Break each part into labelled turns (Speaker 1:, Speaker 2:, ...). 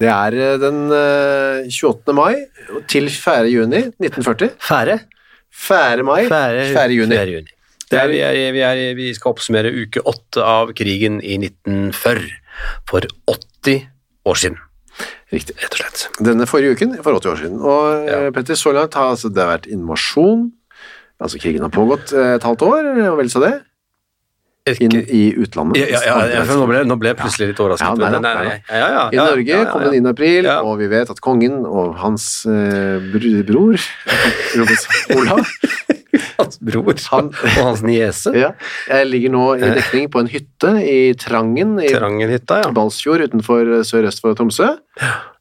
Speaker 1: Det er eh, den eh, 28. mai til 4. juni 1940.
Speaker 2: Fære.
Speaker 1: 4. mai, 4. juni.
Speaker 2: fjerde juni. Det er, vi, er, vi, er, vi skal oppsummere uke åtte av krigen i 1940. For 80 år siden. Riktig, rett og slett.
Speaker 1: Denne forrige uken, for 80 år siden. Og
Speaker 2: Ja.
Speaker 1: eh, Petter, så langt har altså, det har vært invasjon, altså krigen har pågått eh, et halvt år, og vel så det, inn i utlandet.
Speaker 2: ja, ja, ja, ja, for nå, ble, nå ble jeg plutselig litt
Speaker 1: Ja,
Speaker 2: overrasket.
Speaker 1: nei da,
Speaker 2: Nei, nei,
Speaker 1: nei da.
Speaker 2: nei. Ja, ja,
Speaker 1: I
Speaker 2: ja,
Speaker 1: Norge
Speaker 2: ja, ja,
Speaker 1: kom
Speaker 2: ja.
Speaker 1: den inn i april,
Speaker 2: Ja.
Speaker 1: og vi vet at kongen og hans eh, br- bror, Robert Olav,
Speaker 2: Hans bror
Speaker 1: Han-
Speaker 2: og hans niese.
Speaker 1: ja, eh, ligger nå i dekning på en hytte i Trangen i
Speaker 2: Trangenhytta, ja.
Speaker 1: Balsfjord utenfor eh, sørøst for Tromsø.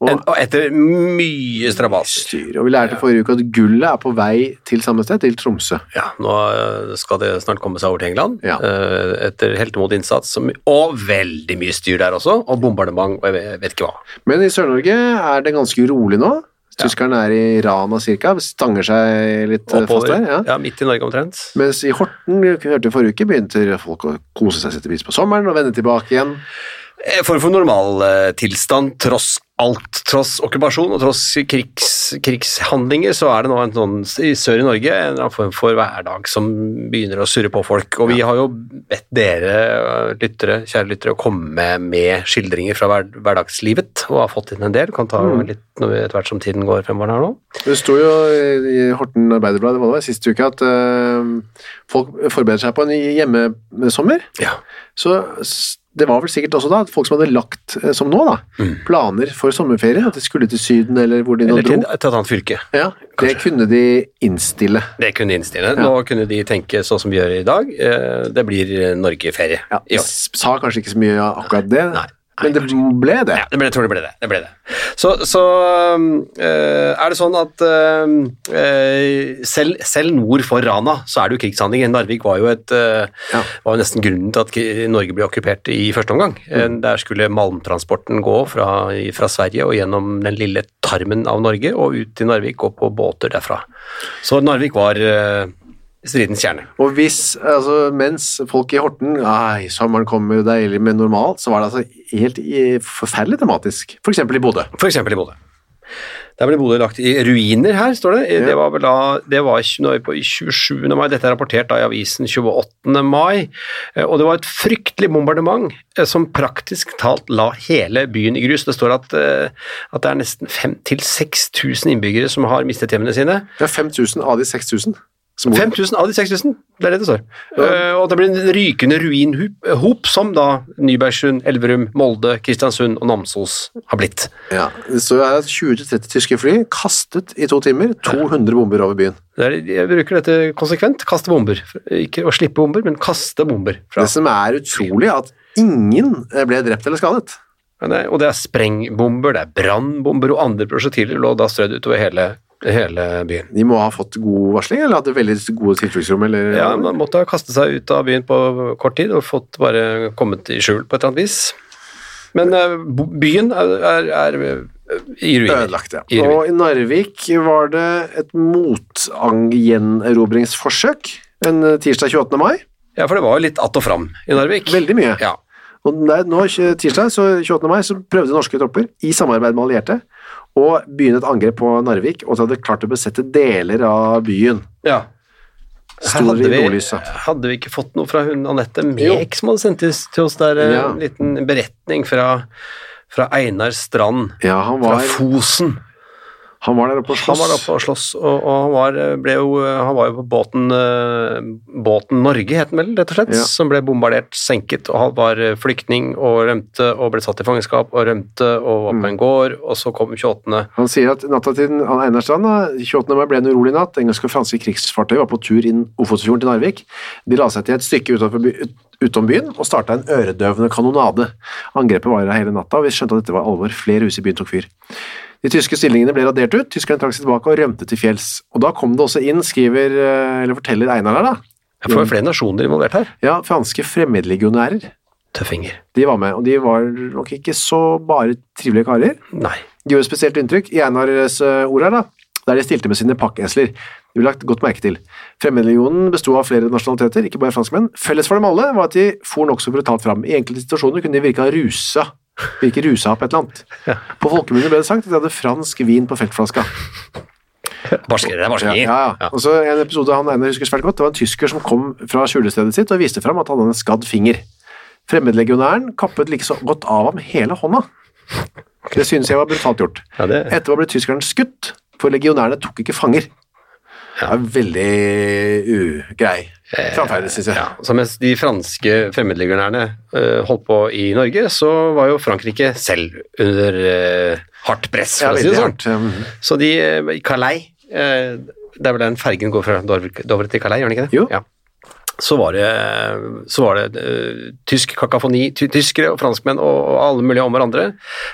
Speaker 1: Og,
Speaker 2: En- Og etter mye strabas.
Speaker 1: styr, og vi lærte forrige uke at gullet er på vei til samme sted, til Tromsø.
Speaker 2: Ja, nå eh, skal det snart komme seg over til England.
Speaker 1: Ja.
Speaker 2: eh, Etter heltemodig innsats, som- og veldig mye styr der også. Og bombardement, og jeg vet- vet ikke hva.
Speaker 1: Men i Sør-Norge er det ganske rolig nå. Tyskerne er i Rana cirka, stanger seg litt eh, fast der. Ja.
Speaker 2: ja, midt i Norge omtrent.
Speaker 1: Mens i Horten, vi hørte vi forrige uke, begynte folk å kose seg, sette pris på sommeren og vende tilbake igjen.
Speaker 2: En form Eh, for normaltilstand eh, tross alt. Tross okkupasjon og tross krigs, krigshandlinger, så er det nå en sånn i sør i Norge en eller annen form for hverdag som begynner å surre på folk. Og vi har jo bedt dere øh, lyttere, kjære lyttere, å komme med skildringer fra hver, hverdagslivet, og har fått inn en del. Kan ta
Speaker 1: Mm.
Speaker 2: litt når vi, etter hvert som tiden går fremover her nå.
Speaker 1: Det sto jo i i Horten Arbeiderblad hva det var, siste uke at eh, folk forbereder seg på en hjemmesommer.
Speaker 2: Ja.
Speaker 1: Så s- det var vel sikkert også da at folk som hadde lagt, eh, som nå da, planer for sommerferie, at de skulle til Syden eller hvor de nå
Speaker 2: Mm. Eller
Speaker 1: dro.
Speaker 2: til et annet fylke.
Speaker 1: Ja, det kunne de innstille.
Speaker 2: Det kunne de innstille. Nå kunne de tenke sånn som vi gjør i dag. eh, Det blir eh, Norge-ferie
Speaker 1: Ja, de
Speaker 2: i år.
Speaker 1: sa kanskje ikke så mye av akkurat det,
Speaker 2: Nei,
Speaker 1: men det ble det.
Speaker 2: Ja, det ble, jeg tror det ble det. det, ble det. Så, så øhm, øh, er det sånn at øhm, øh, selv, selv nord for Rana så er det jo krigshandlinger. Narvik var jo, et, øh,
Speaker 1: Ja.
Speaker 2: var jo nesten grunnen til at kri- Norge ble okkupert i første omgang. Eh, Der skulle malmtransporten gå fra, i- fra Sverige og gjennom den lille tarmen av Norge og ut til Narvik og på båter derfra. Så Narvik var øh, stridens kjerne.
Speaker 1: Og hvis, altså, mens folk i Horten Nei, sommeren kommer deilig, men normalt, så var det altså helt i- forferdelig dramatisk. For eksempel i Bodø.
Speaker 2: For eksempel i Bodø. Der ble Bodø lagt i ruiner her, står det. Det var vel da, det var tj- nå er vi på 27. mai, dette er rapportert da i avisen 28. mai, Eh, og det var et fryktelig bombardement eh, som praktisk talt la hele byen i grus. Det står at, eh, at det er nesten 5000-6000 innbyggere som har mistet hjemmene sine.
Speaker 1: Det er 5000 av de 6000 som bor
Speaker 2: 5000 av de 6000, det er det det står. Eh, Og det blir en rykende ruinhop eh, som da Nybergsund, Elverum, Molde, Kristiansund og Namsos har blitt.
Speaker 1: Ja, så er 20-30 tyske fly kastet i to timer, 200 bomber over byen.
Speaker 2: Det er, jeg bruker dette konsekvent. Kaste bomber. Ikke å slippe bomber, men kaste bomber. Fra.
Speaker 1: Det som er utrolig er at ingen eh, ble drept eller skadet.
Speaker 2: Men det- Og det er sprengbomber, det er brannbomber, og andre prosjektiler lå da strødd utover hele, hele byen.
Speaker 1: De må ha fått god varsling, eller hatt veldig gode tilfluktsrom, eller...
Speaker 2: Ja, Man måtte ha kastet seg ut av byen på kort tid og fått bare kommet i skjul på et eller annet vis. Men eh, bo- byen er, er, er i ruiner.
Speaker 1: Ødelagt, ja.
Speaker 2: I ruiner.
Speaker 1: Og i Narvik var det et motgjenerobringsforsøk en eh, tirsdag 28. mai.
Speaker 2: Ja, for det var jo litt att og fram i Narvik.
Speaker 1: Veldig mye.
Speaker 2: Ja.
Speaker 1: Og der, nå, eh, tirsdag så 28. mai så prøvde norske tropper, i samarbeid med allierte, å begynne et angrep på Narvik, og de hadde klart å besette deler av byen.
Speaker 2: ja. Her
Speaker 1: Store
Speaker 2: hadde vi,
Speaker 1: idollyset.
Speaker 2: hadde vi ikke fått noe fra hun Anette
Speaker 1: Jo.
Speaker 2: Mek som hadde sendt til- til oss der, eh,
Speaker 1: Ja.
Speaker 2: en liten beretning fra, fra Einar Strand
Speaker 1: Ja, han
Speaker 2: fra
Speaker 1: var,
Speaker 2: Fosen.
Speaker 1: han var der oppe og
Speaker 2: Han
Speaker 1: slåss.
Speaker 2: var oppe og slåss, og, og han, var, eh, ble jo, eh, han var jo på båten, eh, båten Norge, het den vel, rett og slett,
Speaker 1: Ja.
Speaker 2: som ble bombardert, senket, og han var eh, flyktning og rømte, og ble satt i fangenskap og rømte, og var på
Speaker 1: Mm.
Speaker 2: en gård, og så kom 28.
Speaker 1: Han sier at natta til den- han Einar Strand, da, 28. mai, ble en urolig natt. Engelske og franske krigsfartøy var på tur inn Ofotfjorden til Narvik. De la seg til et stykke utenfor by, ut, utom byen og starta en øredøvende kanonade. Angrepet varer hele natta, og vi skjønte at dette var alvor. Flere hus i byen tok fyr. De tyske stillingene ble radert ut, tyskerne trakk seg tilbake og rømte til fjells. Og da kom det også inn, skriver, eh, eller forteller Einar her da, Mm.
Speaker 2: Jeg får jo flere nasjoner involvert her.
Speaker 1: ja, franske fremmedlegionærer.
Speaker 2: Tøffinger.
Speaker 1: De var med, og de var nok ikke så bare trivelige karer.
Speaker 2: Nei.
Speaker 1: De gjorde spesielt inntrykk i Einars eh, ord her, da, der de stilte med sine pakkesler. Det ble lagt godt merke til. Fremmedlegionen besto av flere nasjonaliteter, ikke bare franskmenn. Felles for dem alle var at de for nokså brutalt fram. I enkelte situasjoner kunne de virke rusa, virke rusa på et eller annet. På folkemunne ble det sagt at de hadde fransk vin på feltflaska.
Speaker 2: Barskere, det er
Speaker 1: Ja,
Speaker 2: barskere.
Speaker 1: ja, ja. Og så en episode han Einar husker svært godt, det var en tysker som kom fra skjulestedet sitt og viste fram at han hadde en skadd finger. Fremmedlegionæren kappet like så godt av ham hele hånda. Det synes jeg var brutalt gjort.
Speaker 2: Ja, det-
Speaker 1: Etterpå ble tyskeren skutt, for legionærene tok ikke fanger. Det er veldig ugrei framferd, synes jeg.
Speaker 2: Eh, Ja, så mens de franske fremmedlegionærene eh, holdt på i Norge, så var jo Frankrike selv under eh, hardt press,
Speaker 1: Ja,
Speaker 2: for å si
Speaker 1: veldig
Speaker 2: det sånn.
Speaker 1: hardt. Mm.
Speaker 2: Så de eh, i Calais eh, Det er vel den fergen går fra Dover Dover til Calais, gjør den ikke det?
Speaker 1: Jo.
Speaker 2: Ja. Så var det, så var det eh, tysk kakafoni, ty tyskere og franskmenn og, og alle mulige om hverandre.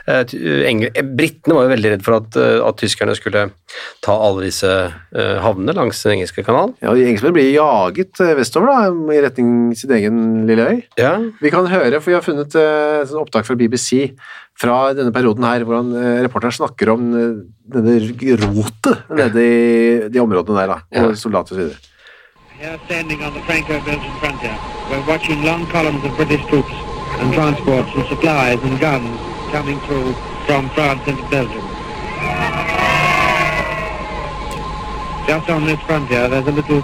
Speaker 2: Eh, ty- Engel- eh, Britene var jo veldig redd for at, eh, at tyskerne skulle ta alle disse eh, havnene langs den engelske kanalen.
Speaker 1: Ja, og de Engelskmennene blir jaget eh, vestover da, i retning sin egen lille øy.
Speaker 2: Ja,
Speaker 1: Vi kan høre, for vi har funnet eh, sånn opptak fra BBC fra denne perioden her, hvordan eh, reporteren snakker om eh, denne rotet nede i de områdene der, da, og
Speaker 2: Ja.
Speaker 1: soldater og så videre.
Speaker 3: Now standing on the Franco-Belgian frontier, we're watching long columns of British troops and transports and supplies and guns coming through from France into Belgium. Just on this frontier, there's a little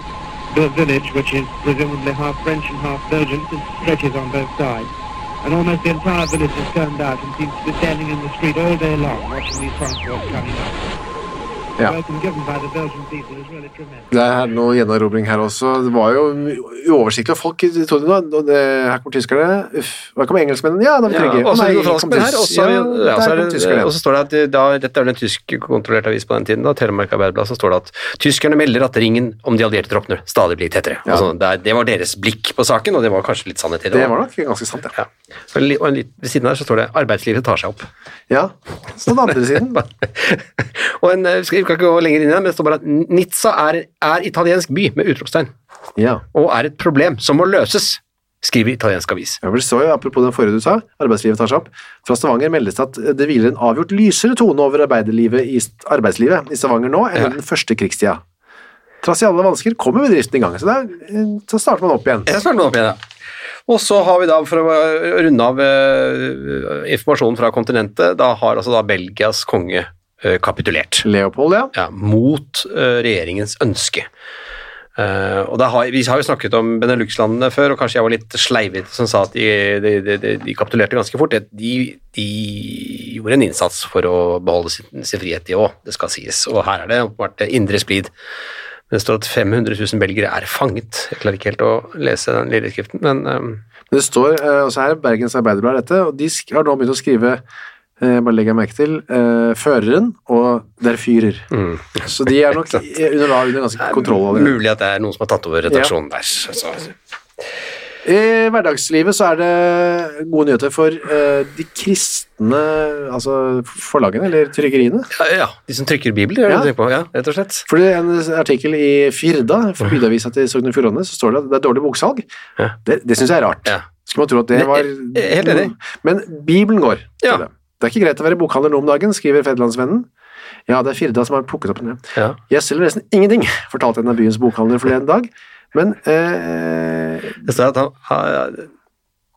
Speaker 3: little village which is presumably half French and half Belgian. It stretches on both sides. And almost the entire village is turned out and seems to be standing in the street all day long watching these transports coming up. The
Speaker 1: Ja.
Speaker 3: welcome given by the Belgian people is really tremendous.
Speaker 1: Det er noe gjenerobring her også. Det var jo uoversiktlig, og folk trodde nå og det, Her kommer tyskerne. Uff, her kommer engelskmennene. Ja, da er vi
Speaker 2: Ja,
Speaker 1: trygge.
Speaker 2: og så
Speaker 1: Nei,
Speaker 2: er det
Speaker 1: kom
Speaker 2: franskmenn her, og
Speaker 1: tys-
Speaker 2: så er vi-
Speaker 1: ja,
Speaker 2: ja, så
Speaker 1: der
Speaker 2: er
Speaker 1: kom
Speaker 2: det-
Speaker 1: tyskerne.
Speaker 2: og så står det at eh, da, dette er vel en tyskkontrollert avis på den tiden, da, Telemark Arbeiderblad, så står det at tyskerne melder at ringen om de allierte drukner stadig blir tettere.
Speaker 1: Ja.
Speaker 2: Altså, det, er, det var deres blikk på saken, og det var kanskje litt sannhet i det.
Speaker 1: Det
Speaker 2: også.
Speaker 1: var nok ganske sant, ja.
Speaker 2: Ja. Og en li- og en litt, ved siden her så står det 'arbeidslivet tar seg opp'.
Speaker 1: ja. Så den andre siden.
Speaker 2: og en, eh, skriv kan ikke gå lenger inn i den, men det står bare at Nizza er, er italiensk by, med utropstegn,
Speaker 1: Ja.
Speaker 2: og er et problem som må løses, skriver italiensk avis.
Speaker 1: Ja, for det står jo, apropos den forrige du sa, arbeidslivet tar seg opp. Fra Stavanger meldes det at det hviler en avgjort lysere tone over arbeiderlivet i, arbeidslivet i Stavanger nå enn
Speaker 2: Ja.
Speaker 1: under den første krigstida. Trass i alle vansker kommer bedriften i gang, så, der, så starter man opp igjen.
Speaker 2: Jeg starter meg opp igjen, ja. Og så har vi da, for å eh, runde av eh, informasjonen fra kontinentet, da har altså da Belgias konge eh, kapitulert.
Speaker 1: Leopold, ja.
Speaker 2: Ja, mot eh, regjeringens ønske. Eh, og da har, Vi har jo snakket om Benelux-landene før, og kanskje jeg var litt sleivete som sa at de, de, de, de, de kapitulerte ganske fort. De, de gjorde en innsats for å beholde sin, sin frihet, de òg, det skal sies. Og her er det åpenbart indre splid. Men det står at 500 000 belgere er fanget. Jeg klarer ikke helt å lese den lille skriften, men ehm,
Speaker 1: Men det står eh, også her, Bergens Arbeiderblad er dette, og de sk- har nå begynt å skrive eh, bare legger jeg merke til, eh, føreren og der fyrer.
Speaker 2: Mm.
Speaker 1: Så de er nok eh, under, da, under ganske Mm. kontroll av det.
Speaker 2: mulig at det er noen som har tatt over redaksjonen der. Så,
Speaker 1: I hverdagslivet så er det gode nyheter for eh, de kristne altså forlagene, eller trykkeriene.
Speaker 2: ja, ja, de som trykker Bibelen, gjør det
Speaker 1: Ja.
Speaker 2: du tenker på? Ja, rett og slett.
Speaker 1: Fordi i en artikkel i Firda, for bydeavisa til Sogn og Fjordane, så står det at det er dårlig boksalg.
Speaker 2: Ja.
Speaker 1: Det, det syns jeg er rart.
Speaker 2: Ja.
Speaker 1: Skulle man tro at det
Speaker 2: Ne-
Speaker 1: var
Speaker 2: jeg er helt enig.
Speaker 1: Men Bibelen går. står
Speaker 2: Ja.
Speaker 1: Det. det er ikke greit å være bokhandler nå om dagen, skriver Fedrelandsvennen. Ja, det er Firda som har plukket opp den. ja.
Speaker 2: Ja.
Speaker 1: Jeg selger nesten ingenting, fortalte en av byens bokhandlere forleden dag. Men eh,
Speaker 2: Det står at han har-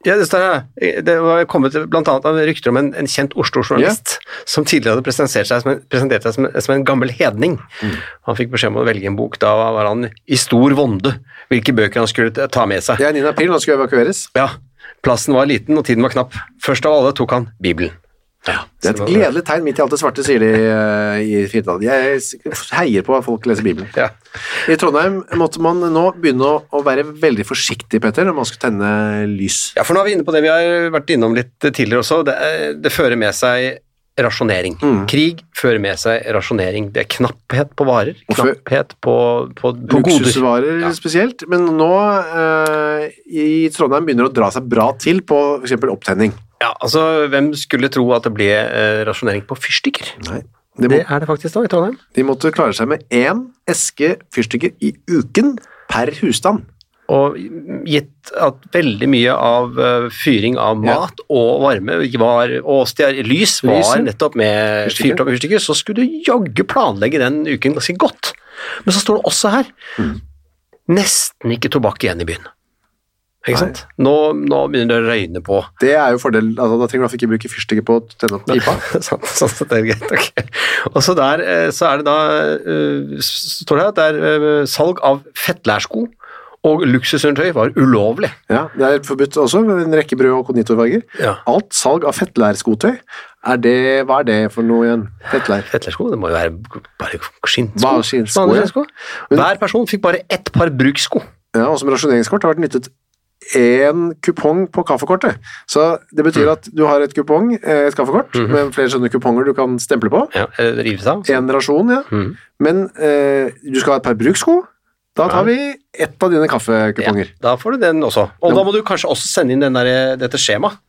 Speaker 2: Ja, det står her. Det var kommet blant annet av rykter om en, en kjent Oslo-journalist som tidligere hadde presentert seg som en, presentert seg som en, som en gammel hedning.
Speaker 1: Mm.
Speaker 2: Han fikk beskjed om å velge en bok. Da var han i stor vonde hvilke bøker han skulle ta med seg.
Speaker 1: det er 9. april, nå skal jeg evakueres.
Speaker 2: Ja, plassen var liten og tiden var knapp. Først av alle tok han Bibelen.
Speaker 1: Det er et gledelig tegn midt i alt det svarte, sier de eh, i Firda. Jeg s- heier på at folk leser Bibelen.
Speaker 2: Ja.
Speaker 1: I Trondheim måtte man nå begynne å- å være veldig forsiktig, Petter, når man skulle tenne lys.
Speaker 2: ja, for nå er vi inne på det vi har vært innom litt tidligere også. Det, er- det fører med seg rasjonering. Krig fører med seg rasjonering. Det er knapphet på varer,
Speaker 1: Og før-
Speaker 2: knapphet på, på, på goder.
Speaker 1: Luksusvarer
Speaker 2: Ja.
Speaker 1: spesielt, men nå eh, i Trondheim begynner det å dra seg bra til på f.eks. opptenning.
Speaker 2: Ja, altså, Hvem skulle tro at det ble eh, rasjonering på fyrstikker?
Speaker 1: Nei. De, må,
Speaker 2: Det er det faktisk da, i Trondheim.
Speaker 1: de måtte klare seg med én eske fyrstikker i uken per husstand.
Speaker 2: Og gitt at veldig mye av eh, fyring av
Speaker 1: Ja.
Speaker 2: mat og varme var, og stjer, lys var
Speaker 1: Lyset.
Speaker 2: nettopp med
Speaker 1: Fyrstikker.
Speaker 2: fyrt opp fyrstikker, så skulle du jaggu planlegge den uken ganske godt. Men så står det også her nesten ikke tobakk igjen i byen. Ikke sant? Nå, nå begynner det å røyne på.
Speaker 1: Det er jo fordel, altså Da trenger du i hvert fall ikke bruke fyrstikker på å tenne opp pipa.
Speaker 2: sånn, sånn at det er greit, ok. Og så der eh, så er det da eh, s- står det her at det er eh, salg av fettlærsko og luksusundertøy var ulovlig.
Speaker 1: Ja, Det er forbudt også, med en rekke brød- og konditorfarger.
Speaker 2: Ja.
Speaker 1: Alt salg av fettlærskotøy, er det, hva er det for noe igjen? Fettlær.
Speaker 2: Fettlærsko, det må jo være bare skinnsko.
Speaker 1: Bare skinnsko,
Speaker 2: Vanlige
Speaker 1: ja.
Speaker 2: skinnsko. Hver person fikk bare ett par brukssko.
Speaker 1: Ja, og som rasjoneringskort har vært nyttet én kupong på kaffekortet. Så det betyr at du har et kupong, eh, et kaffekort, med flere sånne kuponger du kan stemple på.
Speaker 2: Ja, eh, rives av.
Speaker 1: Én rasjon, ja.
Speaker 2: Mhm.
Speaker 1: Men eh, du skal ha et par brukssko. Da tar vi ett av dine kaffekuponger.
Speaker 2: Ja, da får du den også. Og
Speaker 1: Jo.
Speaker 2: da må du kanskje også sende inn den der, eh, dette skjemaet.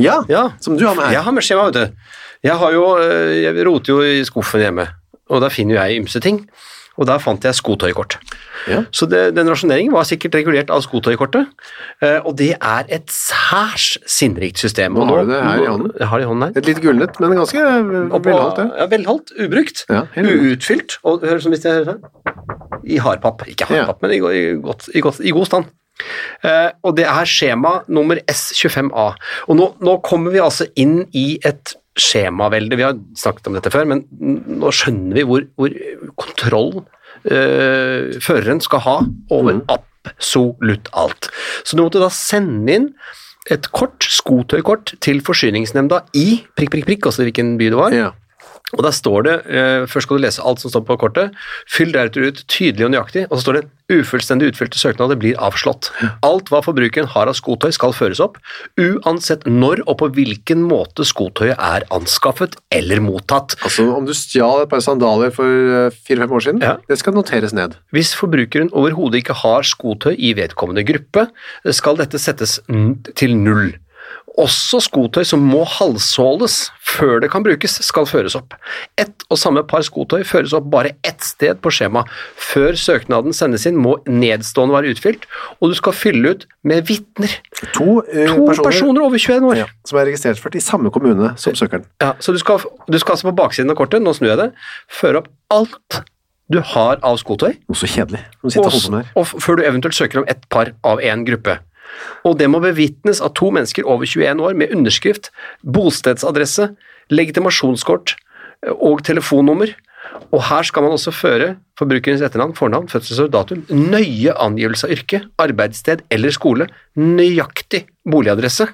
Speaker 1: Ja,
Speaker 2: Ja.
Speaker 1: som du har med her.
Speaker 2: Jeg har med skjema, vet du. Jeg, har jo, eh, jeg roter jo i skuffen hjemme, og der finner jo jeg ymse ting. Og der fant jeg skotøykort.
Speaker 1: Ja.
Speaker 2: Så det, den rasjoneringen var sikkert regulert av skotøykortet, eh, og det er et særs sinnrikt system.
Speaker 1: Nå
Speaker 2: Og
Speaker 1: har du det her i hånden.
Speaker 2: Jeg har det i hånden her.
Speaker 1: Et litt gulnet, men ganske eh,
Speaker 2: Og på-
Speaker 1: velholdt, ja.
Speaker 2: Ja, velholdt, ubrukt,
Speaker 1: Ja, helt
Speaker 2: uutfylt, og hører som hvis det hører sånn. I hardpapp. Ikke hardpapp, men i, go- i, godt, i, godt, i god stand. Eh, og det er skjema nummer S25A. Og nå, nå kommer vi altså inn i et skjemavelde. Vi har snakket om dette før, men n- nå skjønner vi hvor, hvor kontroll eh, føreren skal ha
Speaker 1: Mm.
Speaker 2: over absolutt alt. Så du måtte da sende inn et kort, skotøykort, til forsyningsnemnda i prikk, prikk, prikk, altså hvilken by det var.
Speaker 1: ja.
Speaker 2: Og der står det, eh, Først skal du lese alt som står på kortet. Fyll deretter ut tydelig og nøyaktig. Og så står det ufullstendig utfylte søknader blir avslått. Alt hva forbrukeren har av skotøy skal føres opp, uansett når og på hvilken måte skotøyet er anskaffet eller mottatt.
Speaker 1: Altså, om du stjal et par sandaler for eh, fire-fem år siden,
Speaker 2: Ja.
Speaker 1: det skal noteres ned.
Speaker 2: Hvis forbrukeren overhodet ikke har skotøy i vedkommende gruppe, skal dette settes n- til null. Også skotøy som må halshåles før det kan brukes, skal føres opp. Ett og samme par skotøy føres opp bare ett sted på skjemaet. Før søknaden sendes inn, må nedstående være utfylt, og du skal fylle ut med vitner.
Speaker 1: To, eh,
Speaker 2: To personer, over 21 år.
Speaker 1: Ja, som er registrert ført i samme kommune som søkeren.
Speaker 2: Ja, så du skal, du skal altså på baksiden av kortet, nå snur jeg det, føre opp alt du har av skotøy.
Speaker 1: Noe så kjedelig. Nå sitter
Speaker 2: og,
Speaker 1: og holder på med det her.
Speaker 2: og f- før du eventuelt søker om ett par av én gruppe. Og det må bevitnes av to mennesker over 21 år med underskrift, bostedsadresse, legitimasjonskort eh, og telefonnummer. Og her skal man også føre forbrukerens etternavn, fornavn, fødselsår, datum, nøye angivelse av yrke, arbeidssted eller skole, nøyaktig boligadresse,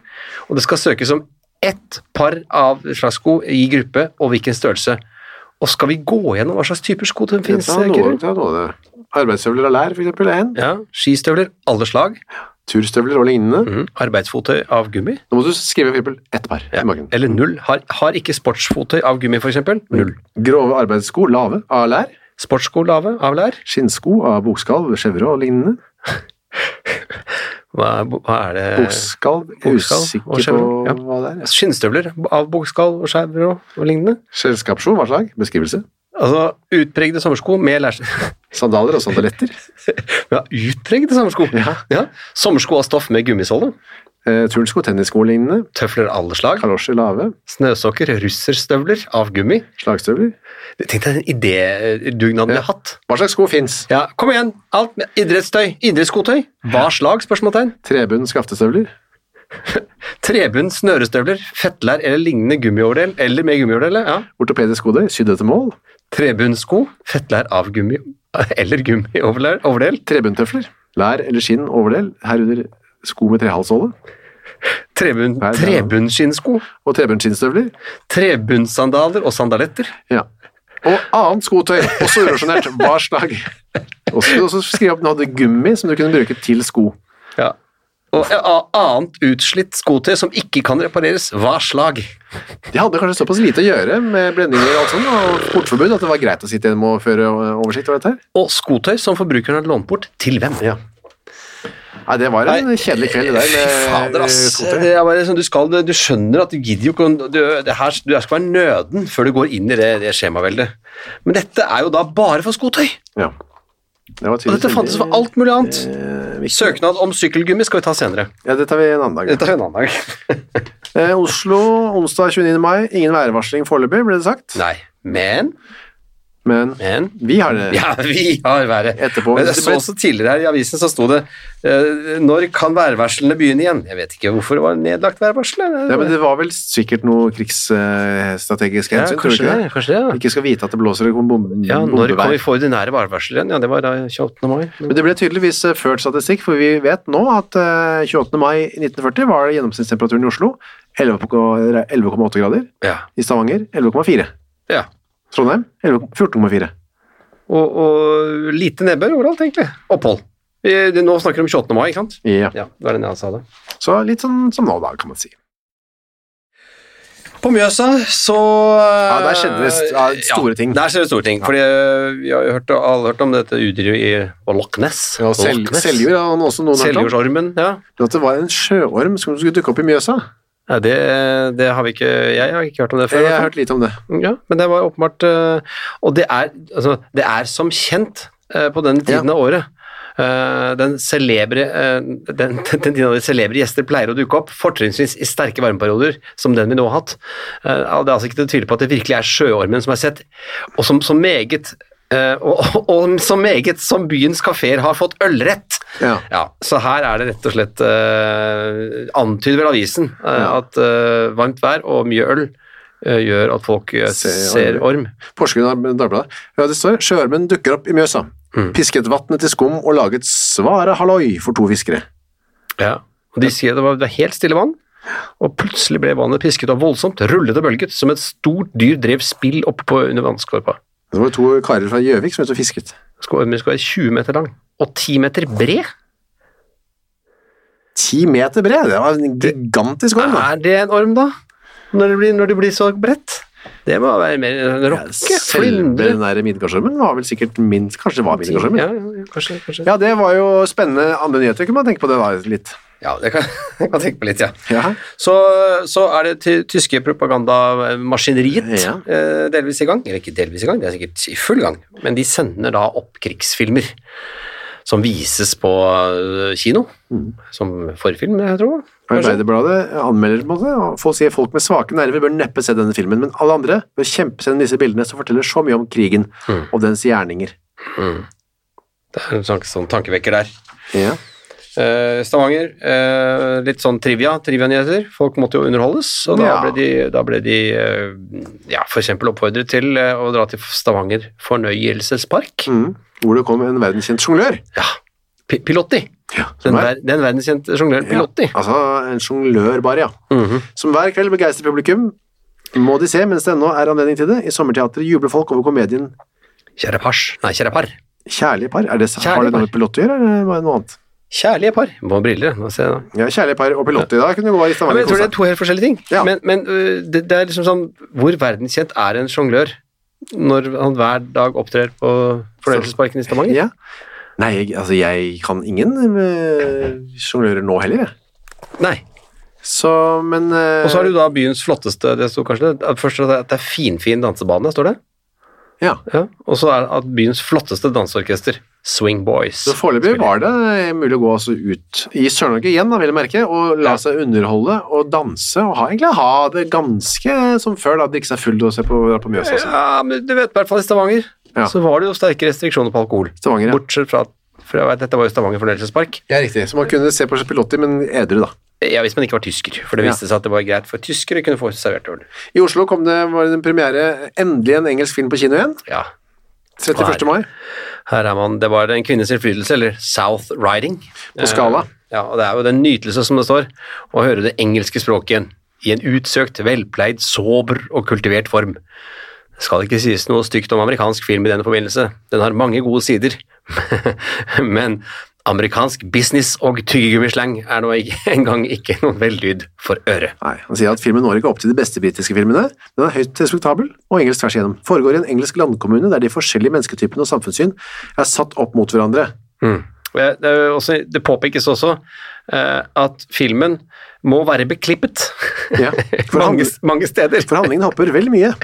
Speaker 2: og det skal søkes om ett par av slags sko i gruppe og hvilken størrelse. Og skal vi gå gjennom hva slags typer sko som finnes?
Speaker 1: Ta noe,
Speaker 2: Kyrre?
Speaker 1: ta noe. av det. Arbeidsstøvler av lær, for eksempel, er en.
Speaker 2: Ja, skistøvler, alle slag.
Speaker 1: Turstøvler og lignende.
Speaker 2: Mm. Arbeidsfottøy av gummi.
Speaker 1: Nå må du skrive for eksempel ett par
Speaker 2: Ja.
Speaker 1: i magen.
Speaker 2: Eller null. Har, har ikke sportsfottøy av gummi, f.eks. Null.
Speaker 1: Grove arbeidssko, lave, av lær.
Speaker 2: Sportssko lave av lær.
Speaker 1: Skinnsko av bokskall, skjevre og lignende.
Speaker 2: Hva, er bo- hva er det
Speaker 1: Bokskall, jeg er
Speaker 2: Eh, Bokskall og
Speaker 1: usikker på
Speaker 2: skjevre, ja.
Speaker 1: hva det er.
Speaker 2: Skinnstøvler av bokskall og skjæver og, og lignende.
Speaker 1: Skjellskapssko, hva slag? Beskrivelse.
Speaker 2: Altså utpregede sommersko med lærstøvler.
Speaker 1: Sandaler og sandaletter.
Speaker 2: Ja, utpregede sommersko!
Speaker 1: Ja.
Speaker 2: Ja. Sommersko av stoff med gummisåle.
Speaker 1: Eh, turnsko, tennissko og lignende.
Speaker 2: Tøfler av alle slag.
Speaker 1: Kalosjer, lave.
Speaker 2: Snøsokker, russerstøvler av gummi.
Speaker 1: Slagstøvler.
Speaker 2: Tenk deg den idédugnaden vi har hatt.
Speaker 1: Hva slags sko fins?
Speaker 2: Ja, kom igjen! Alt med idrettstøy. Idrettsskotøy. Hva slag? Spørsmålstegn.
Speaker 1: Trebunn, skaftestøvler.
Speaker 2: Trebunn, snørestøvler, fettlær eller lignende gummioverdel, eller med gummioverdel, ja.
Speaker 1: Ortopedisk skodøy, sydd etter mål.
Speaker 2: Trebunnsko, fettlær av gummi eller gummioverdel, overdel.
Speaker 1: Trebunntøfler. Lær eller skinn, overdel. Herunder sko med trehalshåle.
Speaker 2: Trebunn,
Speaker 1: Nei, det er-
Speaker 2: trebunnskinnsko,
Speaker 1: Og trebunnskinnstøvler.
Speaker 2: trebunnssandaler og sandaletter.
Speaker 1: Ja. Og annet skotøy, også urasjonert, hva slag. Og så og så skrive opp den hadde gummi som du kunne bruke til sko.
Speaker 2: Ja. Og a- annet utslitt skotøy som ikke kan repareres, hva slag?
Speaker 1: De hadde kanskje såpass lite å gjøre med blendinger og alt sånt, og portforbud, at det var greit å sitte igjen med å føre oversikt over dette her.
Speaker 2: Og skotøy som forbrukeren har lånt bort, til hvem?
Speaker 1: Nei, det var en
Speaker 2: Nei.
Speaker 1: kjedelig kveld det der.
Speaker 2: Fy
Speaker 1: med- eh,
Speaker 2: fader,
Speaker 1: med
Speaker 2: ass.
Speaker 1: skotere.
Speaker 2: Det er bare sånn, du, skal, du skjønner at du gidder jo ikke å- du, det her, du skal være nøden før du går inn i det, det skjemaveldet. Men dette er jo da bare for skotøy!
Speaker 1: Ja. Det var
Speaker 2: Og
Speaker 1: tydeligvis
Speaker 2: dette fantes for
Speaker 1: veldig,
Speaker 2: alt mulig annet.
Speaker 1: eh, viktig.
Speaker 2: Søknad om sykkelgummi skal vi ta senere.
Speaker 1: Ja, det tar vi en annen dag.
Speaker 2: Det tar vi en annen dag.
Speaker 1: Eh, Oslo, onsdag 29. mai. Ingen værvarsling foreløpig, ble det sagt.
Speaker 2: Nei, men,
Speaker 1: Men
Speaker 2: men
Speaker 1: vi har det.
Speaker 2: Ja, vi har været.
Speaker 1: Etterpå.
Speaker 2: Men jeg så også tidligere her i avisen så sto det eh, Når kan værvarslene begynne igjen? Jeg vet ikke hvorfor det var nedlagt værvarsel. eh. eller?
Speaker 1: Ja, men det var vel sikkert noe krigsstrategisk
Speaker 2: Ja,
Speaker 1: hensyn, tror du
Speaker 2: kanskje
Speaker 1: ikke
Speaker 2: det.
Speaker 1: det?
Speaker 2: Kanskje det ja.
Speaker 1: Ikke skal vite at det blåser og bombe,
Speaker 2: ja, når kan vi
Speaker 1: bombevær.
Speaker 2: få ordinære værvarsler igjen? Ja, det var da 28. mai. Men-
Speaker 1: Men det ble tydeligvis eh, ført statistikk, for vi vet nå at eh, 28. mai 1940 var gjennomsnittstemperaturen i Oslo 11,8 grader,
Speaker 2: Ja.
Speaker 1: i Stavanger 11,4,
Speaker 2: ja.
Speaker 1: Trondheim 11 14,4.
Speaker 2: Og, og lite nedbør overalt, egentlig. Opphold. Eh, det- Nå snakker vi om 28. mai, ikke sant?
Speaker 1: Ja.
Speaker 2: Ja, Eh, det var den jeg sa det.
Speaker 1: Så litt sånn som nå, da, kan man si.
Speaker 2: På Mjøsa så
Speaker 1: Ja,
Speaker 2: eh,
Speaker 1: der skjedde det st- ja, store ting.
Speaker 2: Der skjedde det store ting. Fordi eh, vi har jo hørt, alle hørt om dette udyret i og Loch Ness.
Speaker 1: Ja,
Speaker 2: Og
Speaker 1: sel-
Speaker 2: Loch Ness.
Speaker 1: Seljord har han også noen hørt om.
Speaker 2: Seljordsormen, ja.
Speaker 1: At det var en sjøorm som skulle dukke opp i Mjøsa.
Speaker 2: Nei, det, det har vi ikke Jeg har ikke hørt om det før.
Speaker 1: Jeg har hørt litt om det.
Speaker 2: Ja, men det var åpenbart eh, Og det er, altså, det er som kjent eh, på denne tiden
Speaker 1: Ja.
Speaker 2: av året. eh, Den celebre eh, den, den tiden av de celebre gjester pleier å dukke opp, fortrinnsvis i sterke varmeperioder, som den vi nå har hatt. Eh, Det er altså ikke til å tvile på at det virkelig er sjøormen som er sett, og som så meget eh, og, og, og så meget som byens kafeer har fått ølrett.
Speaker 1: Ja.
Speaker 2: Ja, så her er det rett og slett eh, Antyder vel avisen eh,
Speaker 1: Ja.
Speaker 2: at eh, varmt vær og mye øl eh, gjør at folk eh,
Speaker 1: Ser
Speaker 2: ser,
Speaker 1: orm.
Speaker 2: orm.
Speaker 1: Porsgrunn Ar- Dagblad. Ja, det står 'Sjøormen dukker opp i Mjøsa'.
Speaker 2: Mm.
Speaker 1: Pisket vannet til skum og laget svare halloi for to fiskere.
Speaker 2: Ja. Og de sier det var, det var helt stille vann, og plutselig ble vannet pisket opp voldsomt, rullet og bølget, som et stort dyr drev spill opp på under vannskorpa.
Speaker 1: Det var to karer fra Gjøvik som var ute og fisket.
Speaker 2: Skal- Ormen skal være 20 meter lang og 10 meter bred.
Speaker 1: Ti meter bred! Det var en gigantisk orm. da.
Speaker 2: Er det en orm, da? Når det blir, når det blir så bredt? Det må være mer en rocke.
Speaker 1: Selve den der midgardsormen var vel sikkert minst Kanskje det var midgardsormen?
Speaker 2: Ja,
Speaker 1: Ja.
Speaker 2: ja, kanskje, kanskje.
Speaker 1: det var jo spennende andre nyheter. Kunne man tenke på det da litt?
Speaker 2: Ja, det kan jeg kan tenke på litt, ja.
Speaker 1: Ja.
Speaker 2: Så, så er det ty tyske propagandamaskineriet
Speaker 1: Ja.
Speaker 2: eh, delvis i gang. Eller ikke delvis i gang, det er sikkert i full gang. Men de sender da opp krigsfilmer som vises på eh, kino.
Speaker 1: Mm.
Speaker 2: Som forfilm, jeg tror. Kanskje.
Speaker 1: Arbeiderbladet anmelder på en måte, og folk sier folk med svake nerver bør neppe se denne filmen, men alle andre bør kjempe seg inn i disse bildene som forteller så mye om krigen
Speaker 2: Mm.
Speaker 1: og dens gjerninger.
Speaker 2: Det er en sånn, sånn tankevekker der.
Speaker 1: Ja.
Speaker 2: Eh, Stavanger, eh, litt sånn trivia, trivianyheter. Folk måtte jo underholdes, og da
Speaker 1: Ja.
Speaker 2: ble de, da ble de eh, ja, f.eks. oppfordret til eh, å dra til Stavanger fornøyelsespark.
Speaker 1: Mm. Hvor det kom en verdenskjent jonglør.
Speaker 2: Ja, Pi- Pilotti.
Speaker 1: Ja,
Speaker 2: Den,
Speaker 1: som er-
Speaker 2: ver den verdenskjente sjongløren Pilotti.
Speaker 1: Ja, Mhm. altså en jonglør bare, ja. Som hver kveld begeistrer publikum. Må de se mens det ennå er anledning til det. I sommerteatret jubler folk over komedien
Speaker 2: Kjære pars. Nei, kjære par.
Speaker 1: Kjærlige par. Er det,
Speaker 2: Kjærlige
Speaker 1: har det noe med
Speaker 2: par.
Speaker 1: pilot å gjøre, eller var det noe annet?
Speaker 2: Kjærlige par. Må ha briller, nå ser jeg da.
Speaker 1: Ja, Kjærlige par og pilot i dag kunne gå i
Speaker 2: Ja, men
Speaker 1: Stavanger.
Speaker 2: jeg tror det
Speaker 1: kose
Speaker 2: er to helt forskjellige ting.
Speaker 1: Ja.
Speaker 2: Men, men øh, det, det er liksom sånn Hvor verdenskjent er en sjonglør når han hver dag opptrer på fornøyelsesparken i
Speaker 1: seg.
Speaker 2: Stavanger?
Speaker 1: Ja. Nei, jeg, altså jeg kan ingen eh, jonglører nå heller, jeg.
Speaker 2: Nei.
Speaker 1: Så, men eh,
Speaker 2: Og så har du da byens flotteste Det sto kanskje det, at først at det- at det er finfin dansebane, står det.
Speaker 1: Ja.
Speaker 2: Ja. Og så er det at byens flotteste danseorkester, Swing Boys.
Speaker 1: Så foreløpig var det mulig å gå altså ut i Sør-Norge igjen, da, vil jeg merke, og la
Speaker 2: Ja.
Speaker 1: seg underholde og danse, og ha, egentlig ha det ganske som før, da, drikke seg full og se på, dra på Mjøsa. og sånn.
Speaker 2: Ja, men du vet, i hvert fall i Stavanger
Speaker 1: Ja.
Speaker 2: så var det jo sterke restriksjoner på alkohol.
Speaker 1: Stavanger, ja.
Speaker 2: Bortsett fra for jeg vet, Dette var jo Stavanger fornøyelsespark.
Speaker 1: Ja, riktig. Så man kunne se på Pilotti, men edru, da.
Speaker 2: Ja, hvis man ikke var tysker, for det
Speaker 1: Ja.
Speaker 2: viste seg at det var greit for tyskere kunne få servert øl.
Speaker 1: I Oslo kom det, var det en premiere, endelig en engelsk film på kino igjen,
Speaker 2: Ja,
Speaker 1: 31. mai.
Speaker 2: her er man, Det var en kvinnes innflytelse, eller South Riding.
Speaker 1: På skala.
Speaker 2: Eh, Ja, og Det er jo den nytelse, som det står, å høre det engelske språket igjen. I en utsøkt, velpleid, sober og kultivert form. Det skal ikke sies noe stygt om amerikansk film i denne forbindelse. Den har mange gode sider. Men amerikansk business og tyggegummislang er nå ikke- engang ikke noen vellyd for øret.
Speaker 1: Nei, Han sier at filmen når ikke opp til de beste britiske filmene, men den er høyt respektabel og engelsk tvers igjennom. Foregår i en engelsk landkommune der de forskjellige mennesketypene og samfunnssyn er satt opp mot hverandre.
Speaker 2: Og jeg, Eh, det, er jo også, det påpekes også eh, at filmen må være beklippet
Speaker 1: Ja, for han-
Speaker 2: mange, mange steder.
Speaker 1: For handlingen hopper vel mye.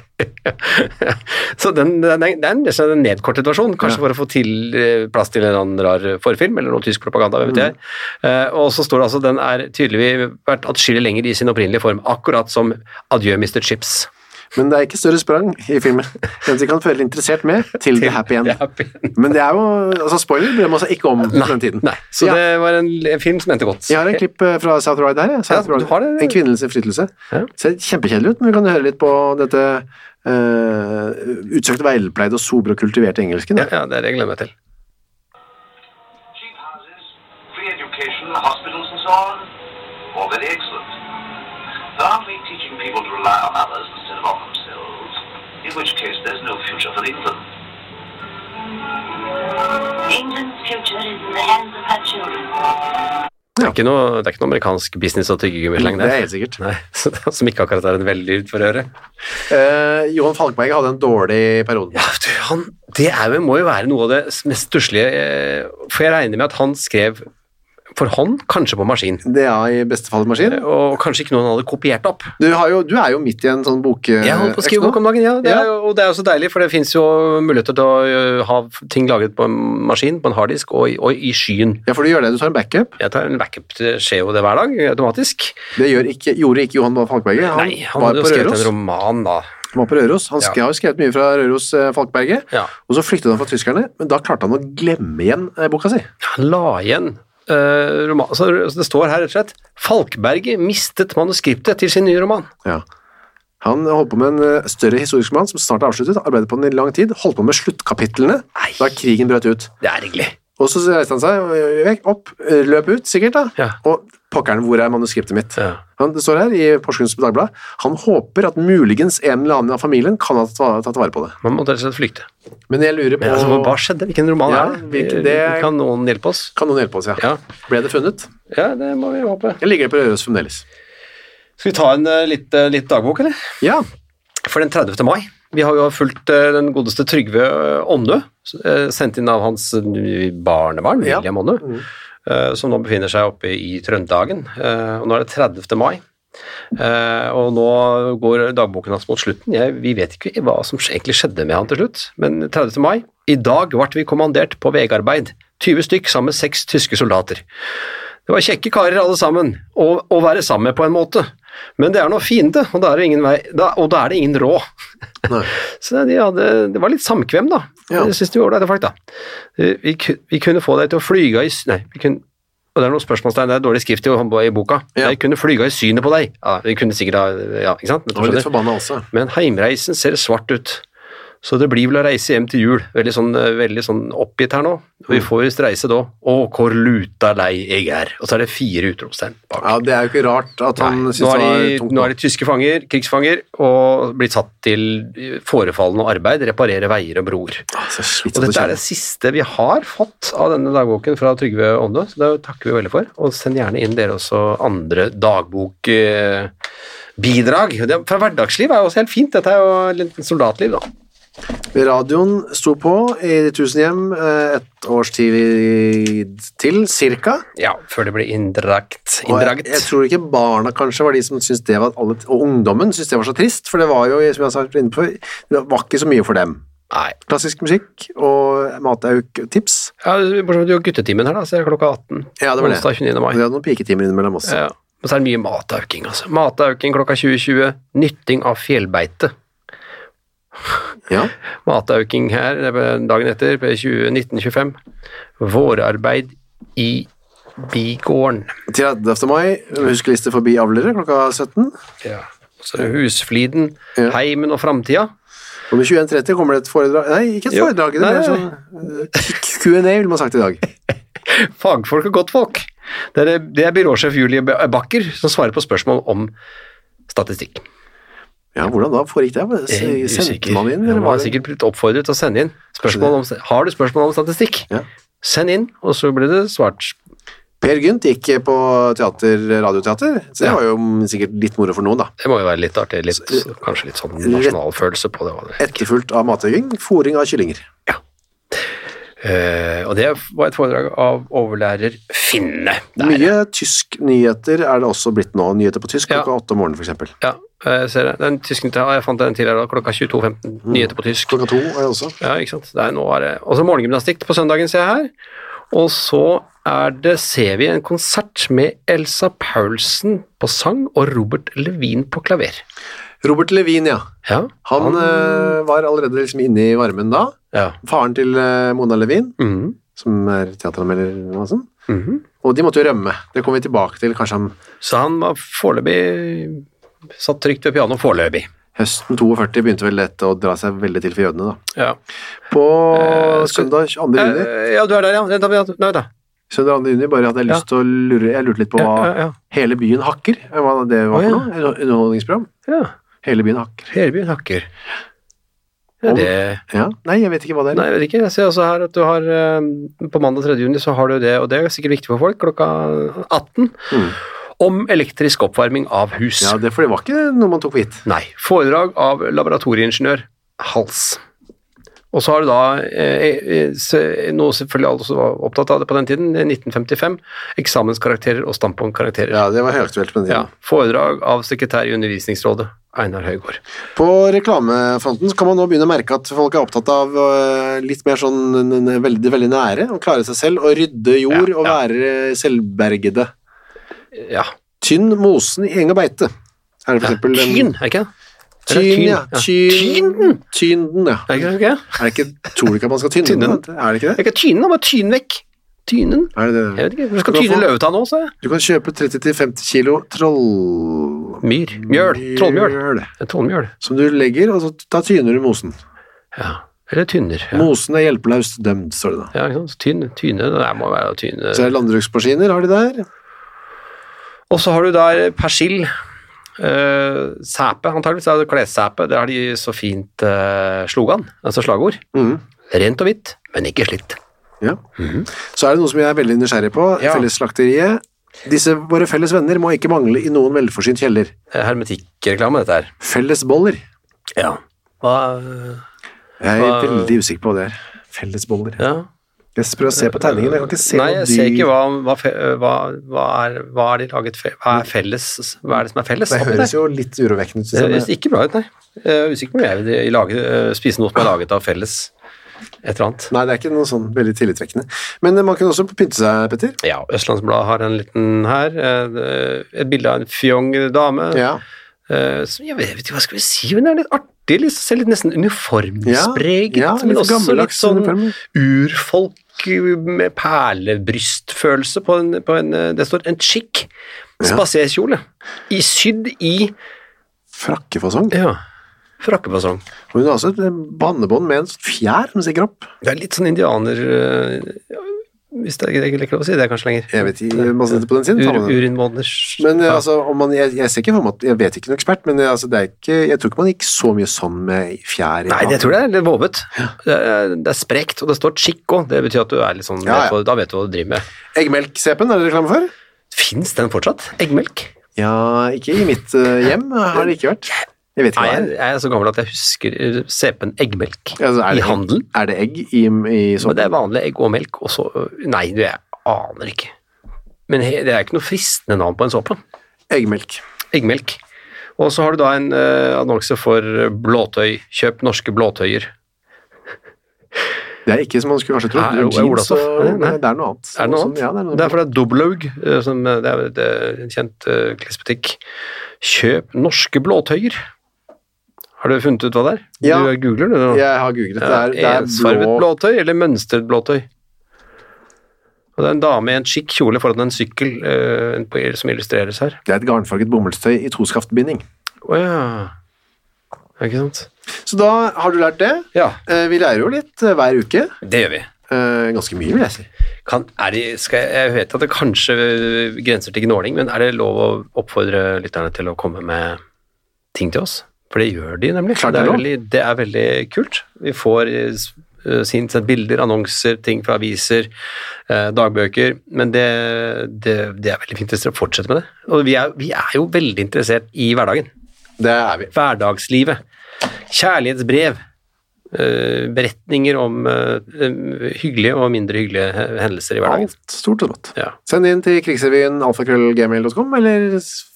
Speaker 2: Så den, den, er- det er nesten en nedkortet versjon,
Speaker 1: Ja.
Speaker 2: kanskje for å få til eh, plass til en eller annen rar forfilm, eller noe tysk propaganda, hvem vet jeg. Eh, og så står det altså den er tydeligvis vært atskillig lenger i sin opprinnelige form, akkurat som Adjø Mr. Chips.
Speaker 1: Men det er ikke større sprang i filmen. Den som kan føle interessert med til The Happy End.
Speaker 2: The Happy End.
Speaker 1: Men det er jo, altså spoiler bryr man seg ikke om på den tiden.
Speaker 2: Nei, så
Speaker 1: Ja.
Speaker 2: det var en, en film som endte godt.
Speaker 1: Jeg har en klipp eh, fra South Ride her. jeg. South
Speaker 2: Ja, du
Speaker 1: Ride.
Speaker 2: har det, ja.
Speaker 1: En kvinnelig innflytelse.
Speaker 2: Ja.
Speaker 1: Ser kjempekjedelig ut, men vi kan høre litt på dette uh, utsøkt velpleide og sobre og kultiverte engelsken.
Speaker 2: Ja,
Speaker 1: da.
Speaker 2: ja, det gleder jeg meg til.
Speaker 4: cheap houses, free education, hospitals and so on, all very excellent. But aren't we teaching people to rely on others instead of on themselves? In which case there's no future for England.
Speaker 5: England's future is in the hands of her children.
Speaker 2: Det er ikke noe, det er ikke noe amerikansk business og tyggegummisleng
Speaker 1: Det
Speaker 2: der.
Speaker 1: er helt sikkert.
Speaker 2: Nei, så det, som ikke akkurat er en vellyd for øret.
Speaker 1: Eh, Johan Falkberg hadde en dårlig periode.
Speaker 2: Ja, du, han, det er jo, må jo være noe av det mest stusslige, eh, for jeg regner med at han skrev for hånd, kanskje på maskin,
Speaker 1: Det er i beste fall maskin.
Speaker 2: og kanskje ikke noe han hadde kopiert opp.
Speaker 1: Du, har jo, du er jo midt i en sånn bok...
Speaker 2: Jeg holdt på å skrive bok om dagen, ja. Det
Speaker 1: Ja.
Speaker 2: er, jo- og det er jo så deilig, for det finnes jo muligheter til å eh, ha ting lagret på en maskin, på en harddisk, og, i- og i skyen.
Speaker 1: Ja, for du gjør det. Du tar en backup.
Speaker 2: Jeg tar en backup, det skjer jo det hver dag, automatisk.
Speaker 1: Det gjør ikke, gjorde ikke Johan Falkberg. Han,
Speaker 2: Nei, han
Speaker 1: var
Speaker 2: hadde jo
Speaker 1: på
Speaker 2: skrevet
Speaker 1: Røros.
Speaker 2: en roman da.
Speaker 1: Han var på Røros. Han sk-
Speaker 2: Ja.
Speaker 1: har jo skrevet mye fra Røros eh, Falkberget,
Speaker 2: Ja.
Speaker 1: og så flyktet han fra tyskerne, men da klarte han å glemme igjen eh, boka si.
Speaker 2: Han la igjen eh, roman, så det står her rett og slett Falkberget mistet manuskriptet til sin nye roman.
Speaker 1: Ja. Han holdt på med en eh, større historisk roman som snart er avsluttet, arbeidet på den i lang tid, holdt på med sluttkapitlene
Speaker 2: Nei.
Speaker 1: da krigen brøt ut.
Speaker 2: Det er hyggelig.
Speaker 1: Og så reiste han seg eh, vekk, opp, eh, løp ut sikkert da,
Speaker 2: Ja.
Speaker 1: og pokkeren, hvor er manuskriptet mitt?
Speaker 2: Ja.
Speaker 1: Han, det står her i Porsgrunns Dagblad, han håper at muligens en eller annen av familien kan ha tatt tatt vare på det.
Speaker 2: Man måtte rett og slett flykte.
Speaker 1: Men jeg lurer på,
Speaker 2: Men altså, hva skjedde? Hvilken roman
Speaker 1: Ja,
Speaker 2: er det? Eh,
Speaker 1: hvilken- det-
Speaker 2: Kan noen hjelpe oss?
Speaker 1: kan noen hjelpe oss, ja.
Speaker 2: Ja.
Speaker 1: Ble det funnet?
Speaker 2: ja, det må vi håpe.
Speaker 1: Jeg ligger det på Røros fremdeles.
Speaker 2: Skal vi ta en eh, litt, eh, litt dagbok, eller?
Speaker 1: Ja,
Speaker 2: For den 30. mai. Vi har jo fulgt eh, den godeste Trygve eh, Åndø, eh, sendt inn av hans eh, barnebarn,
Speaker 1: Ja.
Speaker 2: William Åndø, eh, som nå befinner seg oppe i Trøndagen. Eh, Og nå er det 30. mai. Eh, og nå går dagboken hans mot slutten. Jeg, vi vet ikke hva som sk- egentlig skjedde med han til slutt, men 30. mai. I dag ble vi kommandert på vegarbeid. 20 stykk sammen med seks tyske soldater. Det var kjekke karer alle sammen, å- å være sammen med på en måte. Men det er nå fiende, og da er det ingen, vei, da, og da er det ingen råd.
Speaker 1: Nei.
Speaker 2: Så de hadde, det var litt samkvem, da.
Speaker 1: Ja.
Speaker 2: Det synes de var ålreite folk, da. Eh, Vi, ku- vi kunne få deg til å flyge i s- Nei, vi kunne, og det er noen spørsmålstegn, det er dårlig skrift i, i boka.
Speaker 1: Ja.
Speaker 2: Jeg kunne flyga i synet på deg. Ja, vi kunne sikkert ha Ja, ikke sant? Men du
Speaker 1: han var litt
Speaker 2: skjønner.
Speaker 1: forbanna også.
Speaker 2: Men heimreisen ser svart ut. Så det blir vel å reise hjem til jul. Veldig sånn, eh, veldig sånn oppgitt her nå.
Speaker 1: Mm.
Speaker 2: Og vi får visst reise da. Å, hvor luta lei jeg er. Og så er det fire utropstegn bak.
Speaker 1: Ja, det er jo ikke rart at han
Speaker 2: Nei,
Speaker 1: synes
Speaker 2: nå,
Speaker 1: det
Speaker 2: er
Speaker 1: var
Speaker 2: de,
Speaker 1: tungt.
Speaker 2: nå er de tyske fanger, krigsfanger, og blir satt til forefallende arbeid, reparere veier og broer.
Speaker 1: Ah, så
Speaker 2: Og
Speaker 1: slitsomt å
Speaker 2: dette er det
Speaker 1: kjenne.
Speaker 2: siste vi har fått av denne dagboken fra Trygve Åndø, så det takker vi veldig for. Og send gjerne inn dere også andre dagbokbidrag. Fra hverdagsliv er jo også helt fint, dette er jo litt soldatliv, da.
Speaker 1: Radioen sto på i tusen hjem eh, et års tid til, cirka.
Speaker 2: Ja, før det blir inndrakt.
Speaker 1: Og jeg,
Speaker 2: inndraget.
Speaker 1: jeg tror ikke barna kanskje var de som syntes det var alle, og ungdommen syntes det var så trist, for det var jo, som jeg har sagt innenfor, det var ikke så mye for dem.
Speaker 2: Nei.
Speaker 1: Klassisk musikk og matauk tips.
Speaker 2: Ja, Bortsett fra at du har guttetimen her, da, så er det klokka 18.
Speaker 1: Ja, det var det.
Speaker 2: Onsdag 29. mai.
Speaker 1: Og vi hadde noen piketimer innimellom også.
Speaker 2: Ja. Men så er det mye matauking, altså. Matauking klokka 20.20. Nytting av fjellbeite.
Speaker 1: Ja.
Speaker 2: Matauking her det er dagen etter, på 20 1925. Vårarbeid i bigården.
Speaker 1: 30. mai, huskeliste forbi avlere klokka 17.
Speaker 2: Ja. Så er det husfliden,
Speaker 1: Ja.
Speaker 2: heimen og framtida.
Speaker 1: Og med 21.30 kommer det et foredrag Nei, ikke et
Speaker 2: Jo.
Speaker 1: foredrag, det
Speaker 2: Nei,
Speaker 1: er
Speaker 2: nei,
Speaker 1: sånn eh, Q&A, ville man sagt i dag.
Speaker 2: Fagfolk og godtfolk. Det er, det er byråsjef Julie Ba- Bakker som svarer på spørsmål om statistikk.
Speaker 1: Ja, hvordan da foregikk det?
Speaker 2: Jeg er
Speaker 1: Sendte
Speaker 2: usikker.
Speaker 1: man inn,
Speaker 2: Ja,
Speaker 1: eller
Speaker 2: man
Speaker 1: var
Speaker 2: har
Speaker 1: det
Speaker 2: sikkert blitt oppfordret til å sende inn spørsmål om Har du spørsmål om statistikk?
Speaker 1: Ja.
Speaker 2: Send inn, og så blir det svart
Speaker 1: Per Gynt gikk eh, på teater, eh, radioteater, så det
Speaker 2: Ja.
Speaker 1: var jo mm, sikkert litt moro for noen, da.
Speaker 2: Det må jo være litt artig. Litt, kanskje litt sånn nasjonalfølelse på det.
Speaker 1: Etterfulgt av matøying, fòring av kyllinger.
Speaker 2: Eh, og det var et foredrag av overlærer Finne. Der.
Speaker 1: Mye tysk nyheter er det også blitt nå. Nyheter på tysk
Speaker 2: Ja.
Speaker 1: klokka åtte om morgenen, for eksempel.
Speaker 2: Ja, jeg ser det. Den tysken, ja, jeg fant den tidligere, da, klokka 22.15. Nyheter på tysk.
Speaker 1: Klokka to er det også.
Speaker 2: Ja, ikke sant. Det er nå er det. Og så morgengymnastikk på søndagen, ser jeg her. Og så er det, ser vi en konsert med Elsa Paulsen på sang og Robert Levin på klaver.
Speaker 1: Robert Levin, ja.
Speaker 2: Ja.
Speaker 1: Han, eh, var allerede liksom inne i varmen da.
Speaker 2: ja.
Speaker 1: Faren til eh, Mona Levin,
Speaker 2: Mhm,
Speaker 1: som er teateranmelder eller noe sånt.
Speaker 2: mhm.
Speaker 1: Og de måtte jo rømme. Det kommer vi tilbake til kanskje om
Speaker 2: Så han var foreløpig satt trygt ved pianoet foreløpig.
Speaker 1: høsten 42 begynte vel dette å dra seg veldig til for jødene, da.
Speaker 2: Ja.
Speaker 1: På
Speaker 2: Eh, så-
Speaker 1: søndag 22. juni,
Speaker 2: Eh, ja, du er der, ja. Vent da, vent da. Nei da.
Speaker 1: søndag 2. juni bare hadde jeg lyst til å lure Jeg lurte litt på hva
Speaker 2: Ja, ja, ja.
Speaker 1: Hele byen hakker, Eh, hva det var
Speaker 2: Å, ja.
Speaker 1: for noe? Et Underholdningsprogram?
Speaker 2: ja.
Speaker 1: Hele byen hakker.
Speaker 2: Herbyen hakker. Ja,
Speaker 1: Om-
Speaker 2: det
Speaker 1: Ja, Nei, jeg vet ikke hva det er.
Speaker 2: Nei, jeg vet ikke. Jeg ser også her at du har eh, På mandag 3. juni så har du det, og det er sikkert viktig for folk, klokka 18,
Speaker 1: Mm.
Speaker 2: om elektrisk oppvarming av hus.
Speaker 1: Ja, det, for det var ikke noe man tok for gitt.
Speaker 2: Nei. Foredrag av laboratorieingeniør Hals. Og så har du da eh, eh, se- noe selvfølgelig alle som var opptatt av det på den tiden, eh, 1955. Eksamenskarakterer og standpunktkarakterer.
Speaker 1: Ja, det var høyaktuelt på den
Speaker 2: Ja,
Speaker 1: tiden.
Speaker 2: Foredrag av sekretær i Undervisningsrådet, Einar Høygård.
Speaker 1: På reklamefronten så kan man nå begynne å merke at folk er opptatt av øh, litt mer sånn n- n- veldig, veldig nære, å klare seg selv, og rydde jord
Speaker 2: Ja,
Speaker 1: og
Speaker 2: ja.
Speaker 1: være selvbergede.
Speaker 2: Ja.
Speaker 1: Tynn mosen i eng og beite. Er det for
Speaker 2: ja.
Speaker 1: eksempel en-
Speaker 2: Tyn, er det ikke det? Eller
Speaker 1: Tyn, ja.
Speaker 2: Tyn!
Speaker 1: Tyn, tynden, ja.
Speaker 2: Er det ikke det?
Speaker 1: Er det ikke, tror du ikke at man skal tynne den?
Speaker 2: Tynne
Speaker 1: da? Er det ikke det?
Speaker 2: Jeg kan tyne den, bare tyne vekk. Tynen?
Speaker 1: Er det det?
Speaker 2: Jeg vet ikke. Du skal
Speaker 1: Du kan
Speaker 2: tyne
Speaker 1: få-
Speaker 2: løvetann òg, sa jeg.
Speaker 1: Du kan kjøpe 30-50 kilo troll...
Speaker 2: Myr. Mjøl. Trollmjøl. En Trollmjøl.
Speaker 1: Som du legger, og så da tyner du mosen.
Speaker 2: Ja. Eller tynner. Ja.
Speaker 1: Mosen er hjelpeløst dømt, står det da.
Speaker 2: Ja, ikke sant? Tynn, tyne, det der må være å tyne.
Speaker 1: Så er det landbruksmaskiner, har de der.
Speaker 2: Og så har du der persill. Uh, sæpe, antageligvis er det klessæpe. Der har de så fint eh, slogan, altså slagord.
Speaker 1: Mhm.
Speaker 2: Rent og hvitt, men ikke slitt.
Speaker 1: Ja. Så er det noe som jeg er veldig nysgjerrig på.
Speaker 2: Mhm. Ja.
Speaker 1: Fellesslakteriet. Disse våre felles venner må ikke mangle i noen velforsynt kjeller.
Speaker 2: Eh, Hermetikkreklame, dette her.
Speaker 1: Fellesboller.
Speaker 2: Ja. Hva, eh,
Speaker 1: Jeg er
Speaker 2: Hva-
Speaker 1: veldig usikker på hva det er. Fellesboller.
Speaker 2: ja.
Speaker 1: Jeg prøver å se på tegningen, jeg kan ikke se
Speaker 2: Nei,
Speaker 1: noe
Speaker 2: jeg ser
Speaker 1: dyr-
Speaker 2: ikke hva, hva, fe- hva, hva, er, hva er de laget fe- hva er felles? Hva er det som er felles?
Speaker 1: Det
Speaker 2: oppi der?
Speaker 1: høres jo litt urovekkende ut. liksom.
Speaker 2: Det
Speaker 1: synes
Speaker 2: høres
Speaker 1: jeg.
Speaker 2: ikke bra ut, nei. Jeg er usikker på om jeg vil lage, eh, spise noe som er laget av felles et eller annet.
Speaker 1: Nei, det er ikke noe sånn veldig tillitvekkende. Men eh, man kan også pynte seg, Petter.
Speaker 2: Ja, Østlandsbladet har en liten her. eh, Et bilde av en fjong dame.
Speaker 1: Ja.
Speaker 2: eh, som jeg vet jeg vet ikke hva skal vi si, men det er litt artig. Liksom, ser litt nesten uniformspreget,
Speaker 1: Ja, ja, litt
Speaker 2: men også litt
Speaker 1: gammeldags
Speaker 2: sånn
Speaker 1: uniform.
Speaker 2: urfolk med perlebrystfølelse på en, på en eh, Det står en chic spaserkjole i sydd i
Speaker 1: Frakkefasong.
Speaker 2: ja, frakkefasong.
Speaker 1: Og Hun har også et eh, bannebånd med en sånn fjær hun stikker opp.
Speaker 2: Det er litt sånn indianer øh, ja, Hvis det er ikke lov å si det kanskje lenger.
Speaker 1: Jeg vet ikke, man setter på den siden. tar
Speaker 2: Ur,
Speaker 1: man den.
Speaker 2: Urinnvåners
Speaker 1: Men eh,
Speaker 2: ja.
Speaker 1: altså, om man, jeg, jeg ser ikke for meg at Jeg vet ikke noen ekspert, men eh, altså, det er ikke, jeg tror ikke man gikk så mye sånn med fjær. i
Speaker 2: Nei, det tror jeg er litt våvet. Det, er, det er sprekt, og det står chico. Det betyr at du er litt sånn
Speaker 1: Ja, ja.
Speaker 2: Da vet du hva du driver med.
Speaker 1: Eggmelk-CP-en, er det reklame for?
Speaker 2: Fins den fortsatt? Eggmelk?
Speaker 1: Ja, ikke i mitt eh, hjem har det ikke vært. Jeg vet ikke
Speaker 2: Nei,
Speaker 1: hva
Speaker 2: jeg,
Speaker 1: det er.
Speaker 2: jeg er så gammel at jeg husker øh, CP-en eggmelk
Speaker 1: Ja, så er det- sånn.
Speaker 2: i handelen.
Speaker 1: Er det egg i, i
Speaker 2: Men
Speaker 1: sånn?
Speaker 2: det er vanlig egg og melk, og så øh, Nei, du, jeg aner ikke. Men he, det er ikke noe fristende navn på en såpe.
Speaker 1: Eggmelk.
Speaker 2: eggmelk. Og så har du da en eh, annonse for blåtøy. Kjøp norske blåtøyer.
Speaker 1: Det er ikke som man skulle kanskje trodd.
Speaker 2: Nei, er
Speaker 1: Det er jeans
Speaker 2: Olav
Speaker 1: og-
Speaker 2: Nei, nei.
Speaker 1: Det er noe annet.
Speaker 2: Er det noe
Speaker 1: Sånn,
Speaker 2: annet?
Speaker 1: Ja, det er noe
Speaker 2: det er for det er Dobbelaug, eh, som eh, det er et, eh, en kjent eh, klesbutikk. Kjøp norske blåtøyer. Har du funnet ut hva det er?
Speaker 1: Ja.
Speaker 2: Du googler du nå?
Speaker 1: Jeg har googlet det. er- Det er,
Speaker 2: Ensfarvet
Speaker 1: blå
Speaker 2: Eh, blåtøy eller mønstret blåtøy? Og det er en dame i en skikk kjole foran en sykkel eh, en på- som illustreres her.
Speaker 1: Det er et garnfarget bomullstøy i toskaftbinding.
Speaker 2: Å ja. Er ikke sant?
Speaker 1: Så da har du lært det.
Speaker 2: Ja,
Speaker 1: Eh, Vi lærer jo litt eh, hver uke.
Speaker 2: det gjør vi.
Speaker 1: Eh, Ganske mye, vil jeg si.
Speaker 2: Kan, er det, skal jeg, jeg vet at det kanskje grenser til gnåling, men er det lov å oppfordre lytterne til å komme med ting til oss? For det gjør de nemlig.
Speaker 1: Klart
Speaker 2: det,
Speaker 1: det er
Speaker 2: er
Speaker 1: lov.
Speaker 2: veldig, det er veldig kult. Vi får eh, s- eh, sint sett bilder, annonser, ting fra aviser, eh, dagbøker. Men det, det, det er veldig fint hvis dere fortsetter med det. Og vi er, vi er jo veldig interessert i hverdagen.
Speaker 1: Det er vi.
Speaker 2: Hverdagslivet. Kjærlighetsbrev. eh, beretninger om eh, eh, hyggelige og mindre hyggelige he- hendelser i hverdagen.
Speaker 1: Alt stort og smått.
Speaker 2: Ja.
Speaker 1: Send inn til krigsrevyen alfakrøllgmail.com, eller s-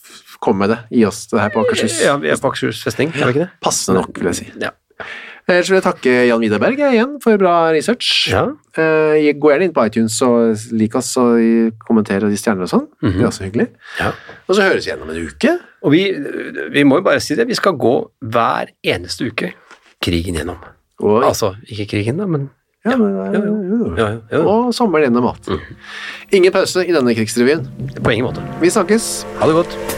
Speaker 1: kom med det. Gi oss det her på Akershus.
Speaker 2: Ja, vi er på Akershus festning, er vi ikke det?
Speaker 1: Passende nok, vil jeg si.
Speaker 2: Ja.
Speaker 1: Ellers vil jeg takke Jan Widerberg jeg, igjen for bra research.
Speaker 2: ja.
Speaker 1: Eh, gå gjerne inn på iTunes og lik oss og i- kommenter og de stjerner og sånn. Det er også hyggelig.
Speaker 2: Ja.
Speaker 1: Og så høres vi igjen om en uke.
Speaker 2: Og vi, vi må jo bare si det, vi skal gå hver eneste uke krigen gjennom.
Speaker 1: Og,
Speaker 2: Altså, ikke krigen da, men
Speaker 1: Ah, ja, Mhm. men, eh,
Speaker 2: jo, jo.
Speaker 1: jo, jo.
Speaker 2: ja, ja, ja,
Speaker 1: og sommeren gjennom alt. Ingen pause i denne krigsrevyen.
Speaker 2: på ingen måte.
Speaker 1: Vi snakkes.
Speaker 2: Ha det godt.